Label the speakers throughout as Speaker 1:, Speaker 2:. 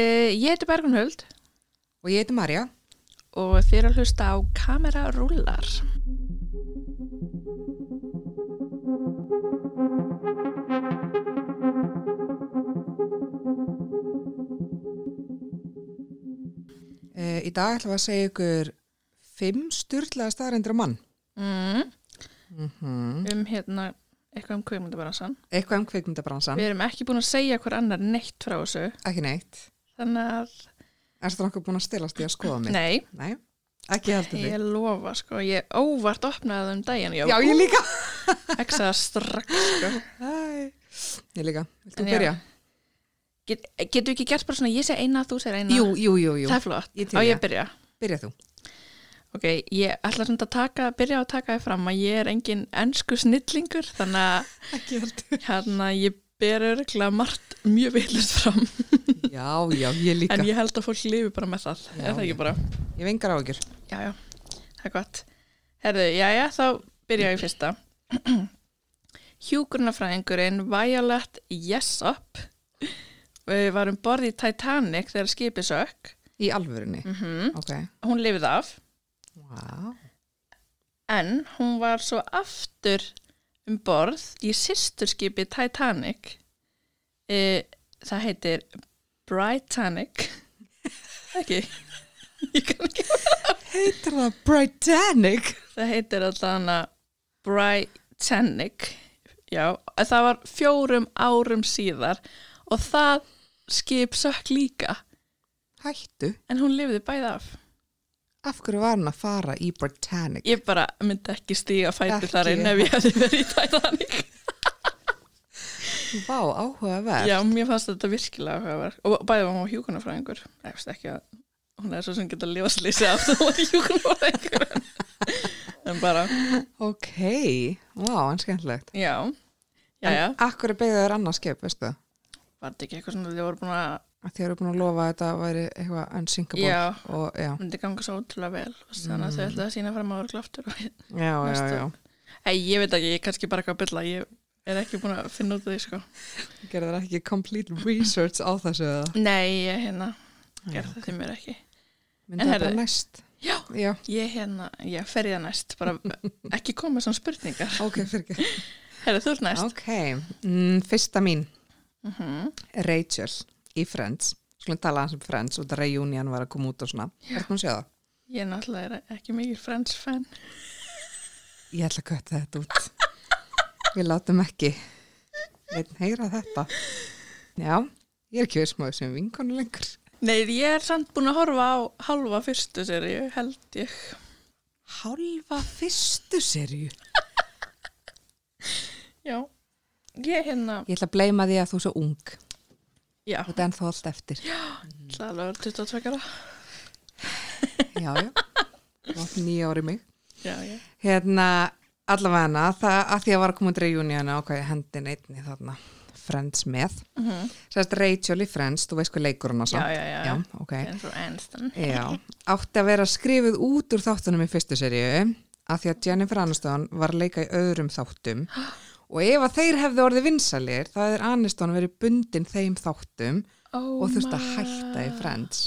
Speaker 1: Uh, ég heiti Bergun Huld
Speaker 2: Og ég heiti Marja.
Speaker 1: og þið eru að hlusta á Kamera rúlar.
Speaker 2: Uh, í dag ætlum við að segja ykkur fimm styrlaða staðarindur á mann.
Speaker 1: Mm.
Speaker 2: Mm
Speaker 1: Um hérna eitthvað um kveimundabransan.
Speaker 2: Eitthvað um kvikmyndabransan.
Speaker 1: Við erum ekki búin að segja hver annar neitt frá þessu.
Speaker 2: Ekki neitt.
Speaker 1: Þannig að,
Speaker 2: Erstu nokkuð búin að stilast í að skoða mig?
Speaker 1: nei,
Speaker 2: Nei. Ekki heldur því.
Speaker 1: ég lofa sko, ég óvart opnaði það um daginn.
Speaker 2: Já, ég líka.
Speaker 1: ekki það strax sko.
Speaker 2: Æ. Ég líka. Vilt
Speaker 1: En
Speaker 2: þú
Speaker 1: já,
Speaker 2: byrja?
Speaker 1: Get, getur ekki gert bara svona, ég segi eina, þú segir eina.
Speaker 2: Jú, jú, jú, jú.
Speaker 1: Það er flott.
Speaker 2: Ég til
Speaker 1: Á
Speaker 2: í
Speaker 1: ég
Speaker 2: það.
Speaker 1: að byrja.
Speaker 2: Byrja þú.
Speaker 1: Ok, ég ætla svona að taka, byrja á að taka þið fram að ég er engin ensku snillingur, þannig að
Speaker 2: Ekki heldur.
Speaker 1: Hérna, ég ber örgulega margt mjög villust fram,
Speaker 2: Já, já, ég líka.
Speaker 1: en
Speaker 2: Ég...
Speaker 1: ég held að fólk lifi bara með það,
Speaker 2: Já,
Speaker 1: er það
Speaker 2: já.
Speaker 1: ekki bara?
Speaker 2: ég vengar á ykkur.
Speaker 1: Já, já, það er gott. Herðu, já, já, þá byrja ég í fyrsta. Hjúgrunafræðingurinn Violet Jessup eh, var um borð í Titanic þegar skipið sökk.
Speaker 2: Í alvörunni.
Speaker 1: Mm
Speaker 2: Ok.
Speaker 1: Hún lifið af,
Speaker 2: Vá.
Speaker 1: en hún var svo aftur um borð í sýsturskipi Titanic e, það heitir Britannic ekki ég kann ekki
Speaker 2: Heitir það Britannic?
Speaker 1: það heitir alltaf Britannic já, en það var fjórum árum síðar og það skip sökk líka
Speaker 2: Hættu.
Speaker 1: en hún lifði bæði af
Speaker 2: Af hverju var hann að fara í Britannic?
Speaker 1: ég bara myndi ekki stíga fæti
Speaker 2: Ekki.
Speaker 1: þar inn ef ég hefði verið í Titanic
Speaker 2: Vá, áhugaverð.
Speaker 1: Já, mér fannst þetta virkilega áhugaverð og bæði var hún hjúkunarfræðingur ég veist ekki að hún er svo sem geta lifaslýsi af það hún er hjúkunarfræðingur en bara,
Speaker 2: Ok, vá, en skemmtilegt.
Speaker 1: já já, já,
Speaker 2: Akkur er beigðaður annars skip, veistu það?
Speaker 1: var þetta ekki eitthvað svona þið voru búin að
Speaker 2: Að þið eru búin að lofa að þetta væri eitthvað unsinkable
Speaker 1: já,
Speaker 2: og já,
Speaker 1: myndi ganga svo ótrúlega vel og þannig að þau ætlaði að sína fram að voru klaftur Ei,
Speaker 2: já, já,
Speaker 1: Næsta.
Speaker 2: já,
Speaker 1: ég veit ekki, ég er kannski bara eitthvað að bylla ég er ekki búin að finna út af því sko
Speaker 2: já. Gerður það ekki complete research á þessu eða?
Speaker 1: Nei, ég hérna gerði það því mér ekki
Speaker 2: Myndi það
Speaker 1: heyrðu.
Speaker 2: bara næst?
Speaker 1: Já,
Speaker 2: Já,
Speaker 1: ég hérna, ég fer í það næst bara ekki koma svona spurningar
Speaker 2: ok, fyrir ekki.
Speaker 1: Herra, þú ert næst
Speaker 2: Ok, mm, fyrsta mín,
Speaker 1: mm
Speaker 2: Rachel í Friends. Skulum tala hans um Friends og þetta reunion var að koma út og svona. Er það að sjá það?
Speaker 1: Ég er náttúrulega er ekki mikil Friends fan.
Speaker 2: Ég ætla að kötta þetta út. Við látum ekki. Við heyra þetta. Já, ég er ekki veist maður sem vinkonu lengur.
Speaker 1: Nei, ég er samt búin að horfa á halva fyrstu seríu, held ég.
Speaker 2: Halva fyrstu serju?
Speaker 1: Já. Ég hérna,
Speaker 2: Ég ætla að bleima því að þú er svo ung og
Speaker 1: já,
Speaker 2: þetta er ennþá allt eftir. Já,
Speaker 1: það er alveg 22 ára.
Speaker 2: já. Þú átt nýja ári mig.
Speaker 1: Já, já.
Speaker 2: Hérna, allavega hana, það að því að var að koma út reunjónu og hvað ég hendin einni þarna, Friends með.
Speaker 1: Mm
Speaker 2: Sérst Rachel í Friends, þú veist hvað leikur hún á
Speaker 1: já,
Speaker 2: svo.
Speaker 1: já, já.
Speaker 2: Já, ok.
Speaker 1: En svo Aniston.
Speaker 2: Já, átti að vera skrifuð út úr þáttunum í fyrstu seríu að því að Jennifer Aniston var að leika í öðrum þáttum og ef að þeir hefðu orðið vinsalir, það er Aniston verið bundin þeim þáttum
Speaker 1: Oh
Speaker 2: og þurfti að
Speaker 1: my-
Speaker 2: hætta í Friends.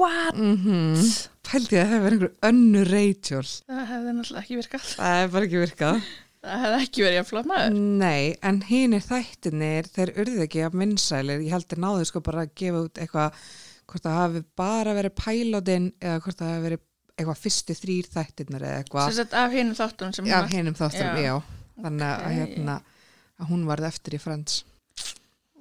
Speaker 1: What?
Speaker 2: mm -hmm. Pældi að það hefur einhver önnu Rachel
Speaker 1: Það hefði náttúrulega ekki virkað.
Speaker 2: Það hefur bara ekki virkað
Speaker 1: Það hefði ekki verið að flá maður.
Speaker 2: Nei, en hinir þættinir þeir urðu ekki að minnsælir Ég held að náðu sko bara að gefa út eitthvað hvort það hafi bara verið pælótin eða hvort það hafi verið eitthvað fyrstu þrýr þættinir eða
Speaker 1: Sem
Speaker 2: eitthvað
Speaker 1: sagt af hinum þáttunum sem
Speaker 2: af hinum þáttunum,
Speaker 1: Já.
Speaker 2: já, þannig að,
Speaker 1: Ok.
Speaker 2: hérna, að hún varð eftir í Friends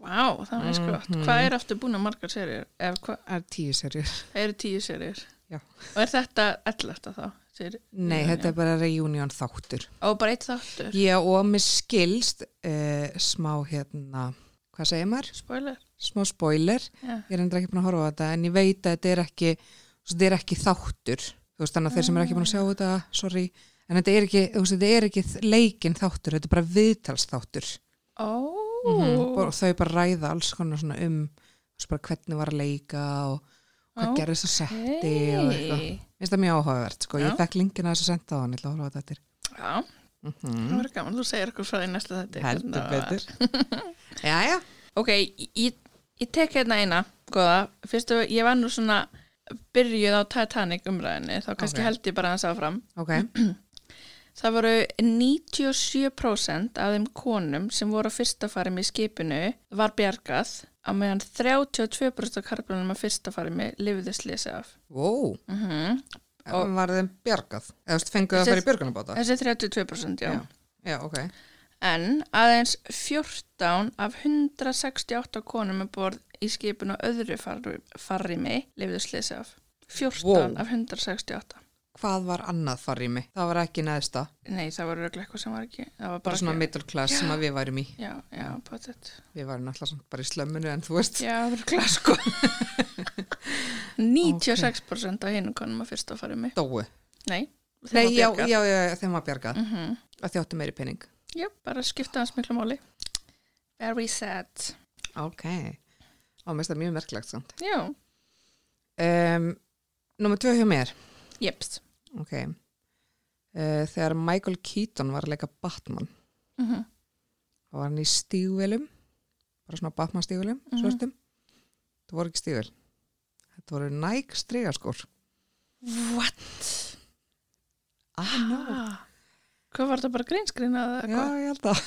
Speaker 1: Vá, það var eins gott.
Speaker 2: Mhm.
Speaker 1: Hvað er aftur búin að margar seríur? Ef hvað?
Speaker 2: Það er tíu serjur
Speaker 1: Það eru tíu seríur.
Speaker 2: Já.
Speaker 1: Og er þetta ellefta þá? Seri,
Speaker 2: Nei, þetta er bara reunion þáttur
Speaker 1: Og bara eitt þáttur?
Speaker 2: Já, og mér skilst uh, smá hérna, hvað segir maður?
Speaker 1: Spoiler?
Speaker 2: Smá spoiler
Speaker 1: Já.
Speaker 2: ég er endur ekki búin að horfa á þetta en ég veit að þetta er ekki, þú veist, þetta er ekki þáttur þú veist þannig að þeir sem er ekki
Speaker 1: Ah.
Speaker 2: búin að sjá þetta sorry, en þetta er ekki, þú veist, þetta er ekki leikin þáttur, þetta er bara viðtalsþáttur
Speaker 1: Ó. Mhm.
Speaker 2: og þau Mhm, bara ræða alls konar svona um þú veist, bara hvernig var að leika og hvað
Speaker 1: Ó,
Speaker 2: gerðist að setti og eitthvað
Speaker 1: Hey.
Speaker 2: finnst það mjög áhugavert, sko,
Speaker 1: Já.
Speaker 2: ég fekk linkina þess að senda á hann, ég ætla að horfa á þetta eftir
Speaker 1: Já,
Speaker 2: mm
Speaker 1: það verður gaman. Þú segir okkur frá því næsta þetta.
Speaker 2: heldur betur Jæja,
Speaker 1: Ok, ég, ég tek hérna eina, góða, fyrstu, ég var nú svona byrjuð á Titanic umræðinni, þá kannski
Speaker 2: Ok.
Speaker 1: held ég bara hans áfram.
Speaker 2: Ok,
Speaker 1: Mhm. Það voru 97% af þeim konum sem voru á fyrsta farum í skipinu var bjargað á meðan 32% af karlunum að fyrsta farmi lifiðu slisa af.
Speaker 2: wow,
Speaker 1: Mm
Speaker 2: var þeim bjargað? Eða þú veist, fenguðu að fara í björgunabáta?
Speaker 1: Þessi 32% já.
Speaker 2: Já. Já, ok.
Speaker 1: En aðeins 14 af 168 konum er borð í skipinu á öðru farri- farmi lifiðu slisa af. 14
Speaker 2: Wow.
Speaker 1: af 168.
Speaker 2: Hvað var annað farými? Það var ekki neðsta,
Speaker 1: Nei, það var örugglega eitthvað sem var ekki. Það var bara,
Speaker 2: bara svona
Speaker 1: ekki.
Speaker 2: middle class sem að við værum í.
Speaker 1: Já, já, pottet.
Speaker 2: Við værum náttúrulega samt bara í slömmunu en þú veist.
Speaker 1: Já, það er glas sko 96% af hinu konum að fyrst að fara mig
Speaker 2: Dóu.
Speaker 1: Nei, þeim
Speaker 2: Nei,
Speaker 1: var
Speaker 2: já,
Speaker 1: bjargað.
Speaker 2: já, já, já, þeim var bjargað.
Speaker 1: Mhm.
Speaker 2: Að þið áttu meiri pening.
Speaker 1: já, bara skipta hans miklu máli Very sad
Speaker 2: Ok. Á mest það mjög merkilegt samt.
Speaker 1: Já,
Speaker 2: Um, Númer tvö hjá mér.
Speaker 1: jeps
Speaker 2: Ok. Uh, þegar Michael Keaton var að leika Batman,
Speaker 1: mm
Speaker 2: þá var hann í stígvelum, bara svona Batman stígvelum,
Speaker 1: Mhm.
Speaker 2: svörtum. Það voru ekki stígvel. Þetta voru næg strígaskór.
Speaker 1: What?
Speaker 2: Ah, no.
Speaker 1: Ah, hvað var það bara greinskrinað? eða
Speaker 2: Já,
Speaker 1: hvað?
Speaker 2: ég held að.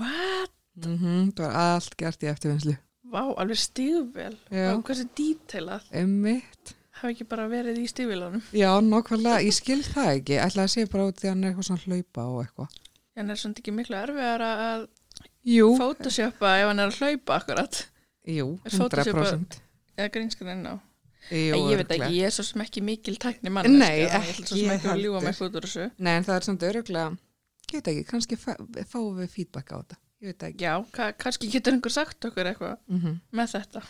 Speaker 1: What?
Speaker 2: Mm Það var allt gert í eftirvinnslu.
Speaker 1: Vá, alveg stíðvel
Speaker 2: Já.
Speaker 1: Vá, hversu dítelað
Speaker 2: Emmitt.
Speaker 1: Hafa ekki bara verið í stíðvilunum
Speaker 2: Já, nokkvæmlega, ég skil það ekki. Ætla að sé bara út því að hann er eitthvað svona hlaupa og eitthvað.
Speaker 1: En er svona ekki miklu erfiðar að
Speaker 2: Jú,
Speaker 1: photoshoppa ef hann er að hlaupa akkurat
Speaker 2: jú,
Speaker 1: Er Photoshop
Speaker 2: 100%.
Speaker 1: eða greinskrinað á
Speaker 2: Jú,
Speaker 1: ég veit
Speaker 2: örugglega.
Speaker 1: ekki, ég er svo sem ekki mikil tækni mann
Speaker 2: Nei,
Speaker 1: ég ætla svo sem
Speaker 2: ekki
Speaker 1: ekki að ljúa
Speaker 2: heldur.
Speaker 1: mig út úr þessu
Speaker 2: Nei, en það er samt öruglega, ég veit ekki, kannski fá, fáum við feedback á þetta. Ég veit ekki.
Speaker 1: já, ka kannski getur einhver sagt okkur eitthvað
Speaker 2: Mm -hmm.
Speaker 1: með þetta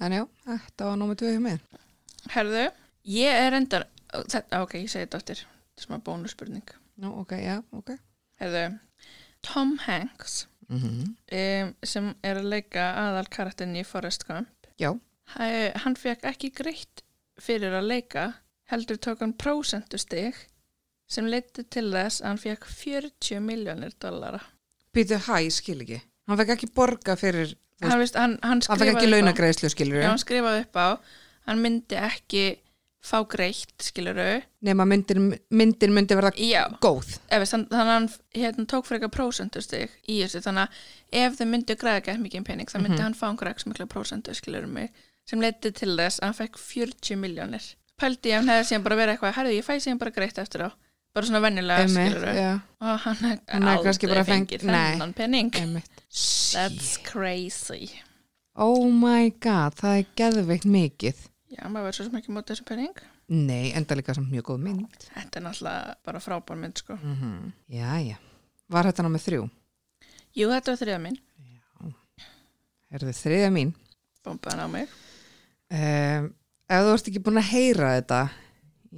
Speaker 2: En já, þetta var nómið tvö hjá mér.
Speaker 1: herðu, ég er endar þetta, ok, ég segi þetta áttir þetta er smá bónusspurning
Speaker 2: Nú, ok, já, ok.
Speaker 1: herðu, Tom Hanks
Speaker 2: Mm
Speaker 1: um, sem er að leika aðal karakterin í Forrest Gump
Speaker 2: Já.
Speaker 1: Hæ, hann fekk ekki greitt fyrir að leika heldur tók hann prósentustig sem leiti til þess að hann fekk 40 miljónir dollara
Speaker 2: Býtu, hæ, ég skil ekki. Hann fekk ekki borga fyrir, þú
Speaker 1: hann, veist, hann, hann,
Speaker 2: veist, hann fekk
Speaker 1: skrifaði
Speaker 2: ekki
Speaker 1: upp á-
Speaker 2: launagreðslu, skilur
Speaker 1: Já,
Speaker 2: við.
Speaker 1: hann skrifaði upp á, hann myndi ekki fá greitt, skiluru.
Speaker 2: Nefn að myndin, myndin myndi verða
Speaker 1: Já,
Speaker 2: góð.
Speaker 1: ef, þess- þannig að hann hérna, tók fyrir eitthvað prósentustig í þessu, þannig að ef þau myndu græða ekki mikið pening, þá myndi
Speaker 2: Mhm.
Speaker 1: hann fá einhverja ekki mikla prósentu, skiluru mig, sem leiti til þess að hann fekk 40 miljónir. Pældi ég að hann hefði síðan bara verið eitthvað, herðu, ég fæ síðan bara greitt eftir á, bara svona venjulega,
Speaker 2: Einmitt,
Speaker 1: skiluru.
Speaker 2: já,
Speaker 1: Og hann
Speaker 2: Hann
Speaker 1: hefði
Speaker 2: hefði kannski
Speaker 1: aldrei
Speaker 2: bara feng-
Speaker 1: fengið
Speaker 2: Nei.
Speaker 1: þennan pening.
Speaker 2: einmitt.
Speaker 1: That's crazy.
Speaker 2: Oh my god, það er geðveikt mikið.
Speaker 1: Já, maður verður svo sem ekki mótið þessum pening.
Speaker 2: Nei, enda líka samt mjög góð mynd.
Speaker 1: Þetta er náttúrulega bara frábár mynd, sko.
Speaker 2: Mm Jæja. Var þetta námið þrjú?
Speaker 1: Jú, þetta var þriða minn.
Speaker 2: Er þetta þriðja mín?
Speaker 1: Bombaðan á mig.
Speaker 2: Um, ef þú ert ekki búin að heyra þetta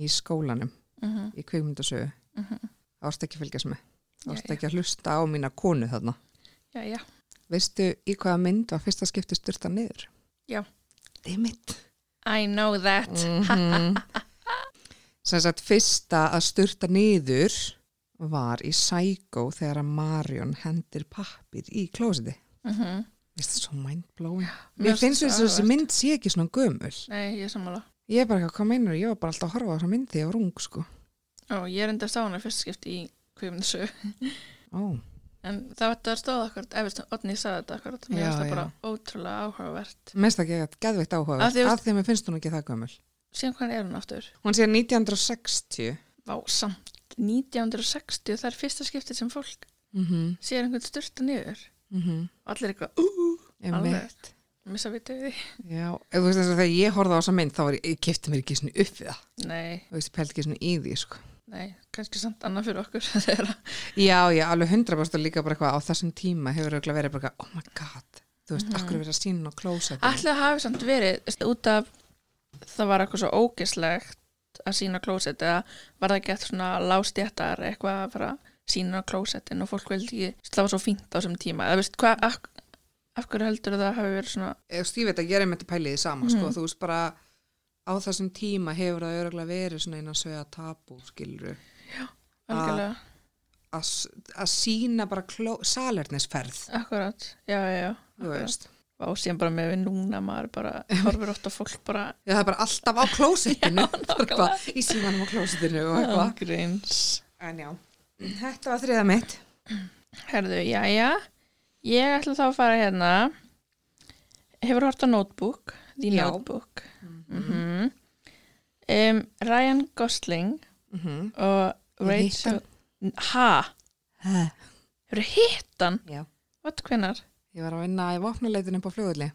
Speaker 2: í skólanum,
Speaker 1: Mm
Speaker 2: í kvikmyndasögu,
Speaker 1: mm -hmm.
Speaker 2: þá ertu ekki að fylgjast með. Þá ertu
Speaker 1: já,
Speaker 2: ekki að hlusta á mína konu þarna.
Speaker 1: já, já.
Speaker 2: Veistu í hvaða mynd var fyrsta skipti styrta niður?
Speaker 1: Já.
Speaker 2: Dimmit.
Speaker 1: I know that.
Speaker 2: Mm -hmm. Sem sagt, fyrsta að styrta niður var í Psycho þegar að Marion hendir pappir í klósiti.
Speaker 1: Mm
Speaker 2: Veistu, svo mindblowing.
Speaker 1: Mér
Speaker 2: Mér finnst
Speaker 1: finnst
Speaker 2: þess að þessi
Speaker 1: áhugavert.
Speaker 2: mynd sé ekki svona gömul.
Speaker 1: Nei, ég er sammála.
Speaker 2: Ég er bara eitthvað, hvað meinar, ég var bara alltaf að horfa á þessa mynd þegar ég var ung, sko.
Speaker 1: Ó, ég er enda að sá hana fyrst skipti í kvifnissu.
Speaker 2: Ó,
Speaker 1: En það var þetta stóð akkurat, ef veist, Otni sagði þetta akkurat. Mér
Speaker 2: Já,
Speaker 1: finnst það
Speaker 2: já.
Speaker 1: bara ótrúlega áhugavert.
Speaker 2: mest ekki eitthvað geðveikt áhuga
Speaker 1: Af
Speaker 2: af
Speaker 1: því, veist-
Speaker 2: því að mér finnst hún ekki það gömul
Speaker 1: Síðan hvernig er hún aftur?
Speaker 2: hún sé 1960
Speaker 1: Vá, samt. 1960, það er fyrsta skipti sem fólk
Speaker 2: mm -hmm.
Speaker 1: sér einhvern styrta niður.
Speaker 2: Mm -hmm.
Speaker 1: Allir eitthvað, ú,
Speaker 2: Alveg,
Speaker 1: alveg. Missa vitið því.
Speaker 2: já, ef þú veist þess að þegar ég horfði á þessa mynd þá var ég, ég kipti mér ekki svona upp við það
Speaker 1: Nei,
Speaker 2: þú veist, ég pældi ekki svona í því, sko
Speaker 1: nei, kannski samt annað fyrir okkur þegar að-
Speaker 2: já, já, alveg 100% og líka bara eitthvað á þessum tíma hefur auðvitað verið bara eitthvað, oh my god þú veist, akkur er verið að sína á klósa
Speaker 1: Ætli það hafi samt verið veist, út af það var eitthvað svo ógislegt að sína klósett eða var það gett svona lástjættar eitthvað að fara að sína klósettin og fólk vildi ekki, veist, það var svo fínt á þessum tíma eða veist hvað, af, af hverju heldur það hafi verið svona
Speaker 2: ég veit að ég er með þetta pælið í sama,
Speaker 1: Mhm.
Speaker 2: sko þú veist, bara á þessum tíma hefur það auðvitað verið svona eina sögja tabu, skilru
Speaker 1: algjörlega,
Speaker 2: að, s- að sína bara kló, salernisferð,
Speaker 1: akkurat, já, já, já
Speaker 2: Ah. þú
Speaker 1: akkurat.
Speaker 2: veist
Speaker 1: og síðan bara með við núna maður bara horfir ótt á fólk bara
Speaker 2: Já, það er bara alltaf á klósettinu Bara
Speaker 1: nákvæmlega.
Speaker 2: eitthvað í símanum á klósettinu og
Speaker 1: "Ah."
Speaker 2: eitthvað
Speaker 1: angriðins
Speaker 2: en já, þetta var þriða mitt
Speaker 1: Herðu, jæja ég ætla þá að fara hérna hefur hort á Notebook The
Speaker 2: Já.
Speaker 1: Notebook mm um, Ryan Gosling
Speaker 2: mm -hmm.
Speaker 1: og
Speaker 2: Ég hitt
Speaker 1: Rachel ha, hefur hittan
Speaker 2: Já,
Speaker 1: what hvenar,
Speaker 2: ég var að vinna í vopnuleitinu upp á flugulli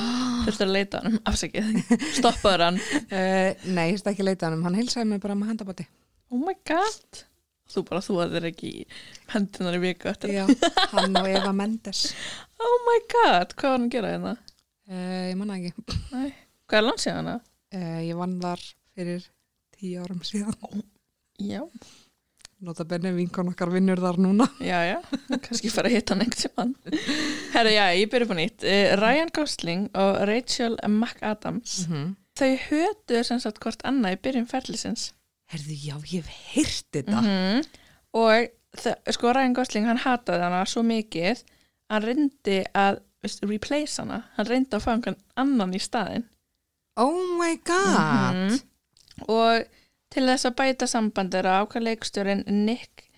Speaker 2: Ah.
Speaker 1: þurftu að leita hann afsakið, stoppaður hann
Speaker 2: uh, Nei, ég veist ekki að leita hann hann heilsaði mig bara með handabati
Speaker 1: oh my god þú bara þú að þér ekki í hendunar í viku eftir
Speaker 2: Já, hann og Eva Mendes
Speaker 1: oh my god, hvað var hann að gera hérna
Speaker 2: uh, Ég manna ekki
Speaker 1: Nei. hvað er hérna? langt síðan hana
Speaker 2: uh, Ég vann þar fyrir tíu árum síðan
Speaker 1: já,
Speaker 2: Nota benni vinkon okkar vinnur þar núna
Speaker 1: já, já, kannski fara að hitta hann einhvern tímann herru, já, ég byrja upp á nýtt Eh, Ryan Gosling og Rachel McAdams
Speaker 2: -hmm.
Speaker 1: þau hötuðu sem sagt hvort annað í byrjun ferlisins
Speaker 2: Herðu, já, ég hef heyrt þetta
Speaker 1: -hmm. og það, sko Ryan Gosling hann hataði hana svo mikið hann reyndi að veist, replace hana, hann reyndi að fá einhvern annan í staðin
Speaker 2: Oh my god
Speaker 1: Mhm. og til þess að bæta sambandir á ákvað leikstjórin Nick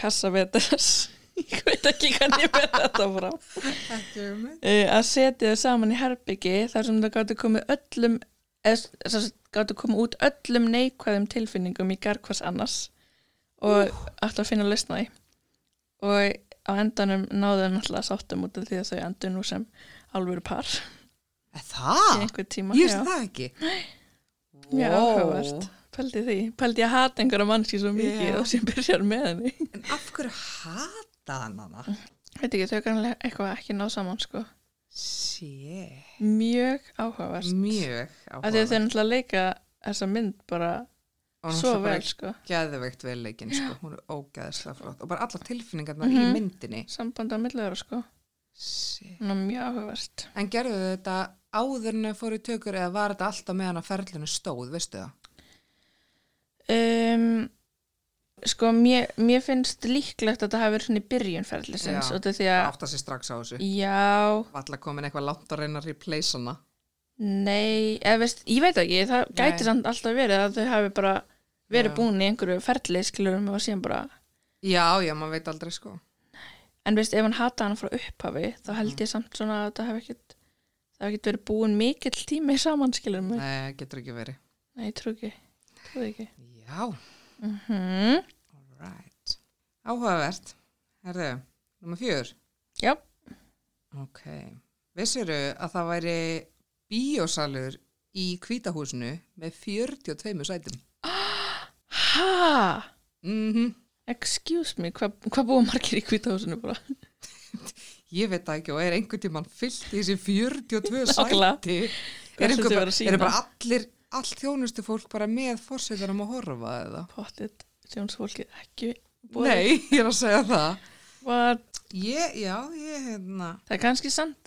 Speaker 1: Cassavetes ég veit ekki hvernig ég veit þetta frá
Speaker 2: Þetta er með
Speaker 1: eh, að setja þau saman í herbyggi þar sem þau gáttu komið öllum eh, eða gáttu komið út öllum neikvæðum tilfinningum í garð hvers annars og alltaf að finna að lausna því og á endanum náðu þau náttúrulega sáttum út af því að þau endur nú sem alvöru par í
Speaker 2: Það?
Speaker 1: einhver tíma
Speaker 2: Ég
Speaker 1: já.
Speaker 2: veist það ekki
Speaker 1: Já,
Speaker 2: Vó.
Speaker 1: áhugavert. Pældi því. Pældi að hata einhverja mannski svo mikið
Speaker 2: Já.
Speaker 1: og sem byrjar með henni.
Speaker 2: En af hverju hata hann hana?
Speaker 1: Veit ekki, þau kannlega eitthvað ekki ná saman, sko.
Speaker 2: Sér
Speaker 1: Mjög áhugavert.
Speaker 2: Mjög
Speaker 1: Af því að þau náttúrulega leika þessa mynd bara
Speaker 2: Og hún
Speaker 1: svo
Speaker 2: er
Speaker 1: vel,
Speaker 2: bara
Speaker 1: sko.
Speaker 2: geðveikt vel leikinn sko. Hún er ógeðslega flott Og bara alla tilfinningarnar í
Speaker 1: Mhm.
Speaker 2: myndinni
Speaker 1: Samband á milliður, sko.
Speaker 2: Sér
Speaker 1: Ná, mjög áhugavert.
Speaker 2: En gerðu þau þetta áðurinu fóru í tökur eða var þetta alltaf meðan að ferlinu stóð, veistu það?
Speaker 1: Um, sko, mér, mér finnst líklegt að það hafi verið svona í byrjun ferðlisins
Speaker 2: Já.
Speaker 1: og því
Speaker 2: Það
Speaker 1: að,
Speaker 2: átta sér strax á þessu.
Speaker 1: já,
Speaker 2: Valla komin eitthvað langt að reyna að replace hana.
Speaker 1: Nei, eða veist, ég veit ekki, það gæti
Speaker 2: Nei.
Speaker 1: samt alltaf verið að þau hafi bara verið
Speaker 2: Já.
Speaker 1: búin í einhverju ferli, skilurum og síðan bara,
Speaker 2: Já, já, maður veit aldrei sko.
Speaker 1: en veist, ef hann hata hana frá upphafi, þá held
Speaker 2: Mm.
Speaker 1: ég samt svona að það hafi ekkit, það hafi ekkit verið búin mikill tími saman, skilurum Nei,
Speaker 2: Nei, getur ekki verið.
Speaker 1: Nei ég trú ekki, trú ekki.
Speaker 2: Já,
Speaker 1: Mm
Speaker 2: alright. Áhugavert. Herðu, nummer fjör.
Speaker 1: Já,
Speaker 2: Ok. Vissuru að það væri bíósalur í kvítahúsinu með 42 sætum.
Speaker 1: ha,
Speaker 2: Mhm.
Speaker 1: excuse me, hva- hvað búa margir í kvítahúsinu bara?
Speaker 2: Ég veit það ekki og er einhvern tímann fyllt í þessi 42
Speaker 1: Nákvæmlega.
Speaker 2: sæti
Speaker 1: ætlum
Speaker 2: er, einhver
Speaker 1: þið að
Speaker 2: bara,
Speaker 1: vera að sýna?
Speaker 2: er bara allir allt þjónustu fólk bara með fórsetunum að horfa eða?
Speaker 1: Pottit, sjónsfólkið ekki búið.
Speaker 2: Nei, ég er að segja það
Speaker 1: What?
Speaker 2: Ég, já, ég hérna
Speaker 1: það er kannski samt,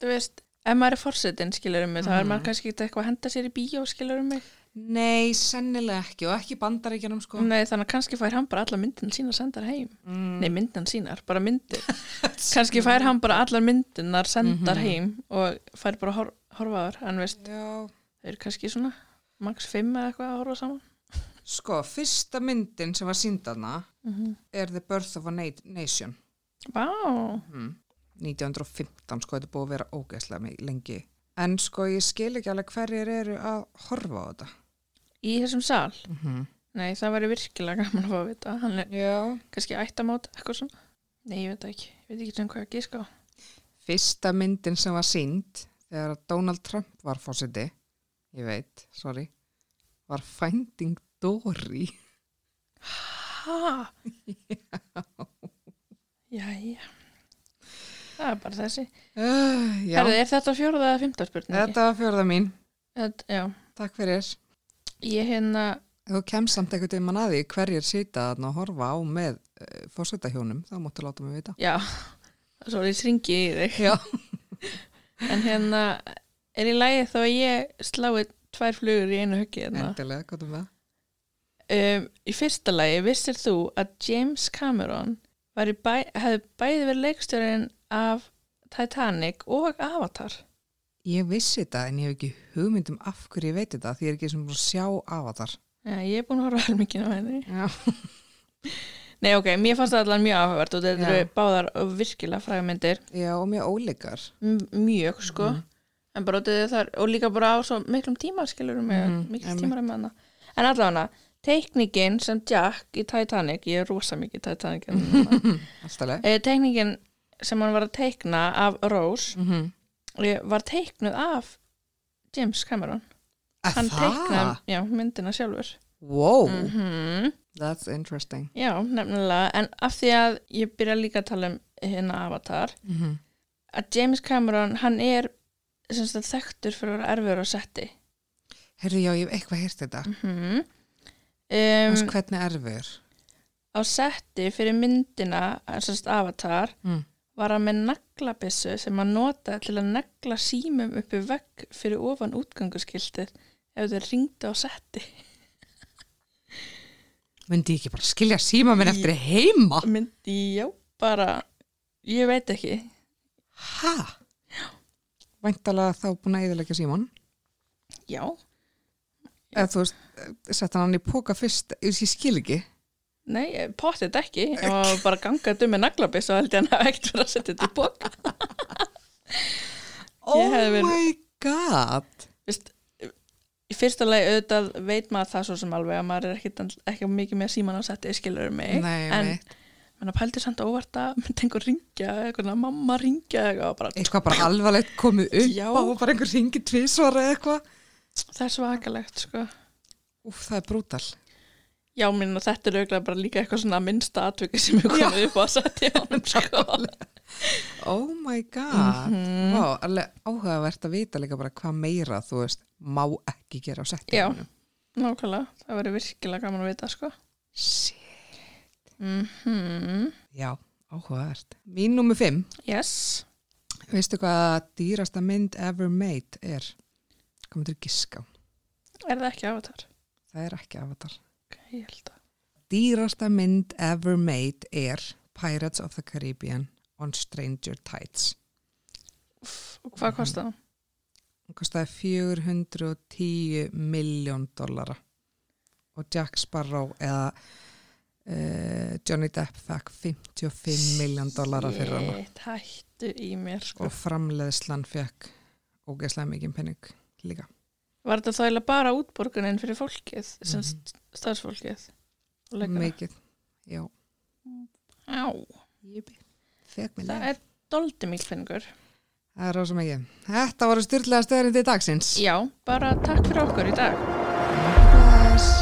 Speaker 1: þú veist ef maður er forsetin skilurum mig, þá er
Speaker 2: Mhm.
Speaker 1: maður kannski ekkert eitthvað að henda sér í bíó skilurum mig,
Speaker 2: Nei, sennilega ekki og ekki bandaríkjanum sko
Speaker 1: nei þannig að kannski fær hann bara allar myndin sína sendar heim
Speaker 2: mm.
Speaker 1: Mm. nei myndin sínar, bara myndir kannski fær hann bara allar myndinar sendar
Speaker 2: Mhm.
Speaker 1: heim og fær bara hor horfaður, en veist, þau
Speaker 2: Já,
Speaker 1: eru kannski svona max 5 eða eitthvað að horfa saman
Speaker 2: sko, fyrsta myndin sem var síndana
Speaker 1: mm
Speaker 2: er The Birth of a Na- Nation
Speaker 1: Vá,
Speaker 2: mm. 1915 sko, þetta er búið að vera ógeðslega mig lengi en sko, ég skil ekki alveg hverjir eru að horfa á þetta
Speaker 1: í þessum sal
Speaker 2: mm
Speaker 1: nei, það væri virkilega gaman að fá að vita hann er
Speaker 2: Já,
Speaker 1: kannski ættamót, eitthvað svona nei, ég veit það ekki, ég veit ekki sem hvað að gíska á
Speaker 2: fyrsta myndin sem var sínd þegar að Donald Trump var fósiti, ég veit, sorry, var Finding Dory.
Speaker 1: Ha? Jæja. Það er bara þessi.
Speaker 2: Uh, já,
Speaker 1: Herðu, er þetta fjórða eða fymta spurningi?
Speaker 2: þetta var fjörða mín.
Speaker 1: Þetta, já.
Speaker 2: Takk fyrir.
Speaker 1: Ég hérna,
Speaker 2: Ef þú kemst samt einhvern tímann að því hverjir sita þarna og horfa á með uh, fósitahjónum, þá máttu láta mig vita.
Speaker 1: já, svo ég sringi í þig.
Speaker 2: Já.
Speaker 1: En hérna, er í lagi þó að ég slái tvær flugur í einu höggi hérna?
Speaker 2: Endilega, hvað er með?
Speaker 1: Um, í fyrsta lagi, vissir þú að James Cameron var í bæ, hefði bæði verið leikstjórinn af Titanic og Avatar
Speaker 2: Ég vissi þetta en ég hef ekki hugmynd um af hverju ég veit þetta því ég er ekki sem búin að sjá avatar.
Speaker 1: Já, ég er búin að horfa helmingin á henni
Speaker 2: Já.
Speaker 1: Nei, ok, mér fannst það allan mjög áhugavert og þetta
Speaker 2: Já.
Speaker 1: eru báðar virkilega frægmyndir
Speaker 2: Já, og mjög óleikar.
Speaker 1: mjög, sko
Speaker 2: Mhm.
Speaker 1: en bara út af því að það er, og líka bara á svo miklum tíma skilur mig, mm,
Speaker 2: Mhm,
Speaker 1: mikil
Speaker 2: einmitt.
Speaker 1: tímar með hana en allavega, teikningin sem Jack í Titanic, ég er rosa mikið í Titanic en núna.
Speaker 2: Alltaf leið.
Speaker 1: Eh, teikningin sem hann var að teikna af Rose
Speaker 2: Mm -hmm.
Speaker 1: eh, var teiknuð af James Cameron hann teiknaði um,
Speaker 2: Það?
Speaker 1: já, myndina sjálfur
Speaker 2: Wow,
Speaker 1: mhm
Speaker 2: that's interesting.
Speaker 1: Já, nefnilega, en af því að ég byrja líka að tala um hérna Avatar
Speaker 2: Mm -hmm.
Speaker 1: að James Cameron, hann er sem sagt þekktur fyrir að vera erfiður á setti
Speaker 2: Herðu, já, ég hef eitthvað heyrt þetta.
Speaker 1: mm
Speaker 2: Um,
Speaker 1: um,
Speaker 2: hvernig erfur?
Speaker 1: Á setti fyrir myndina eh, sem sagt Avatar
Speaker 2: Mm.
Speaker 1: var hann með naglabissu sem hann notaði til að negla símum uppi vegg fyrir ofan útganguskiltið ef þau ringdu á setti
Speaker 2: Myndi ég ekki bara skilja síma minn eftir heima?
Speaker 1: myndi, já, bara ég veit ekki
Speaker 2: Hæ? Væntalega þá búin að eðalega síman.
Speaker 1: já,
Speaker 2: Eða þú veist, sett hann í póka fyrst, ég ég skil ekki.
Speaker 1: Nei, pottet ekki. Ef maður bara gangaði um með naglabis og held ég hann að ekkert verið að setja þetta í bók.
Speaker 2: Oh
Speaker 1: hefði verið-
Speaker 2: my god.
Speaker 1: Vist, í fyrsta lagi auðvitað veit maður það svo sem alveg að maður er ekkit, ekki mikið með síman á setti, skilur mig.
Speaker 2: Nei,
Speaker 1: en
Speaker 2: mitt.
Speaker 1: menn að pældi samt óvart að myndi einhver ringja, eitthvað mamma ringja eitthvað og bara,
Speaker 2: eitthvað bara alvarlegt komið upp
Speaker 1: Já.
Speaker 2: og bara einhver ringi tvísvara eða eitthvað.
Speaker 1: það er svakalegt, sko.
Speaker 2: Úf, það er brútal.
Speaker 1: Já, minn að þetta er auðvitað bara líka eitthvað svona minnsta atviki sem er komið upp á setti á hann, sko.
Speaker 2: Oh my god.
Speaker 1: Mhm.
Speaker 2: Vá, alveg áhugavert að vita líka bara hvað meira, þú veist, má ekki gera á
Speaker 1: Já.
Speaker 2: settinu.
Speaker 1: Nákvæmlega, það verður virkilega gaman að vita, sko.
Speaker 2: Sí.
Speaker 1: Mm
Speaker 2: Já, áhugavert. Mín nummer 5,
Speaker 1: Yes.
Speaker 2: veistu hvað dýrasta mynd ever made er? Komum til að giska. á?
Speaker 1: Er það ekki avatar?
Speaker 2: Það er ekki avatar.
Speaker 1: Ok, ég held að.
Speaker 2: Dýrasta mynd ever made er Pirates of the Caribbean on Stranger Tides.
Speaker 1: Og hvað kostar það?
Speaker 2: Hún kostaði 410 miljón dollara og Jack Sparrow eða uh, Johnny Depp fekk 55 miljón dollara fyrir hana
Speaker 1: Shit, hættu í mér sko.
Speaker 2: og framleiðslan fekk ógeðslega mikið penning líka.
Speaker 1: Var þetta þá eiginlega bara útborgunin fyrir fólkið,
Speaker 2: Mhm.
Speaker 1: sem st starfsfólkið? Leikana.
Speaker 2: Mikið, já.
Speaker 1: Á,
Speaker 2: Júbi. Fekk mig
Speaker 1: það
Speaker 2: leið.
Speaker 1: er doldi mýlfinningur.
Speaker 2: Það er rosa mikið. Þetta voru styrlega stöðarindi dagsins.
Speaker 1: Já, bara takk fyrir okkur í dag.
Speaker 2: Bless.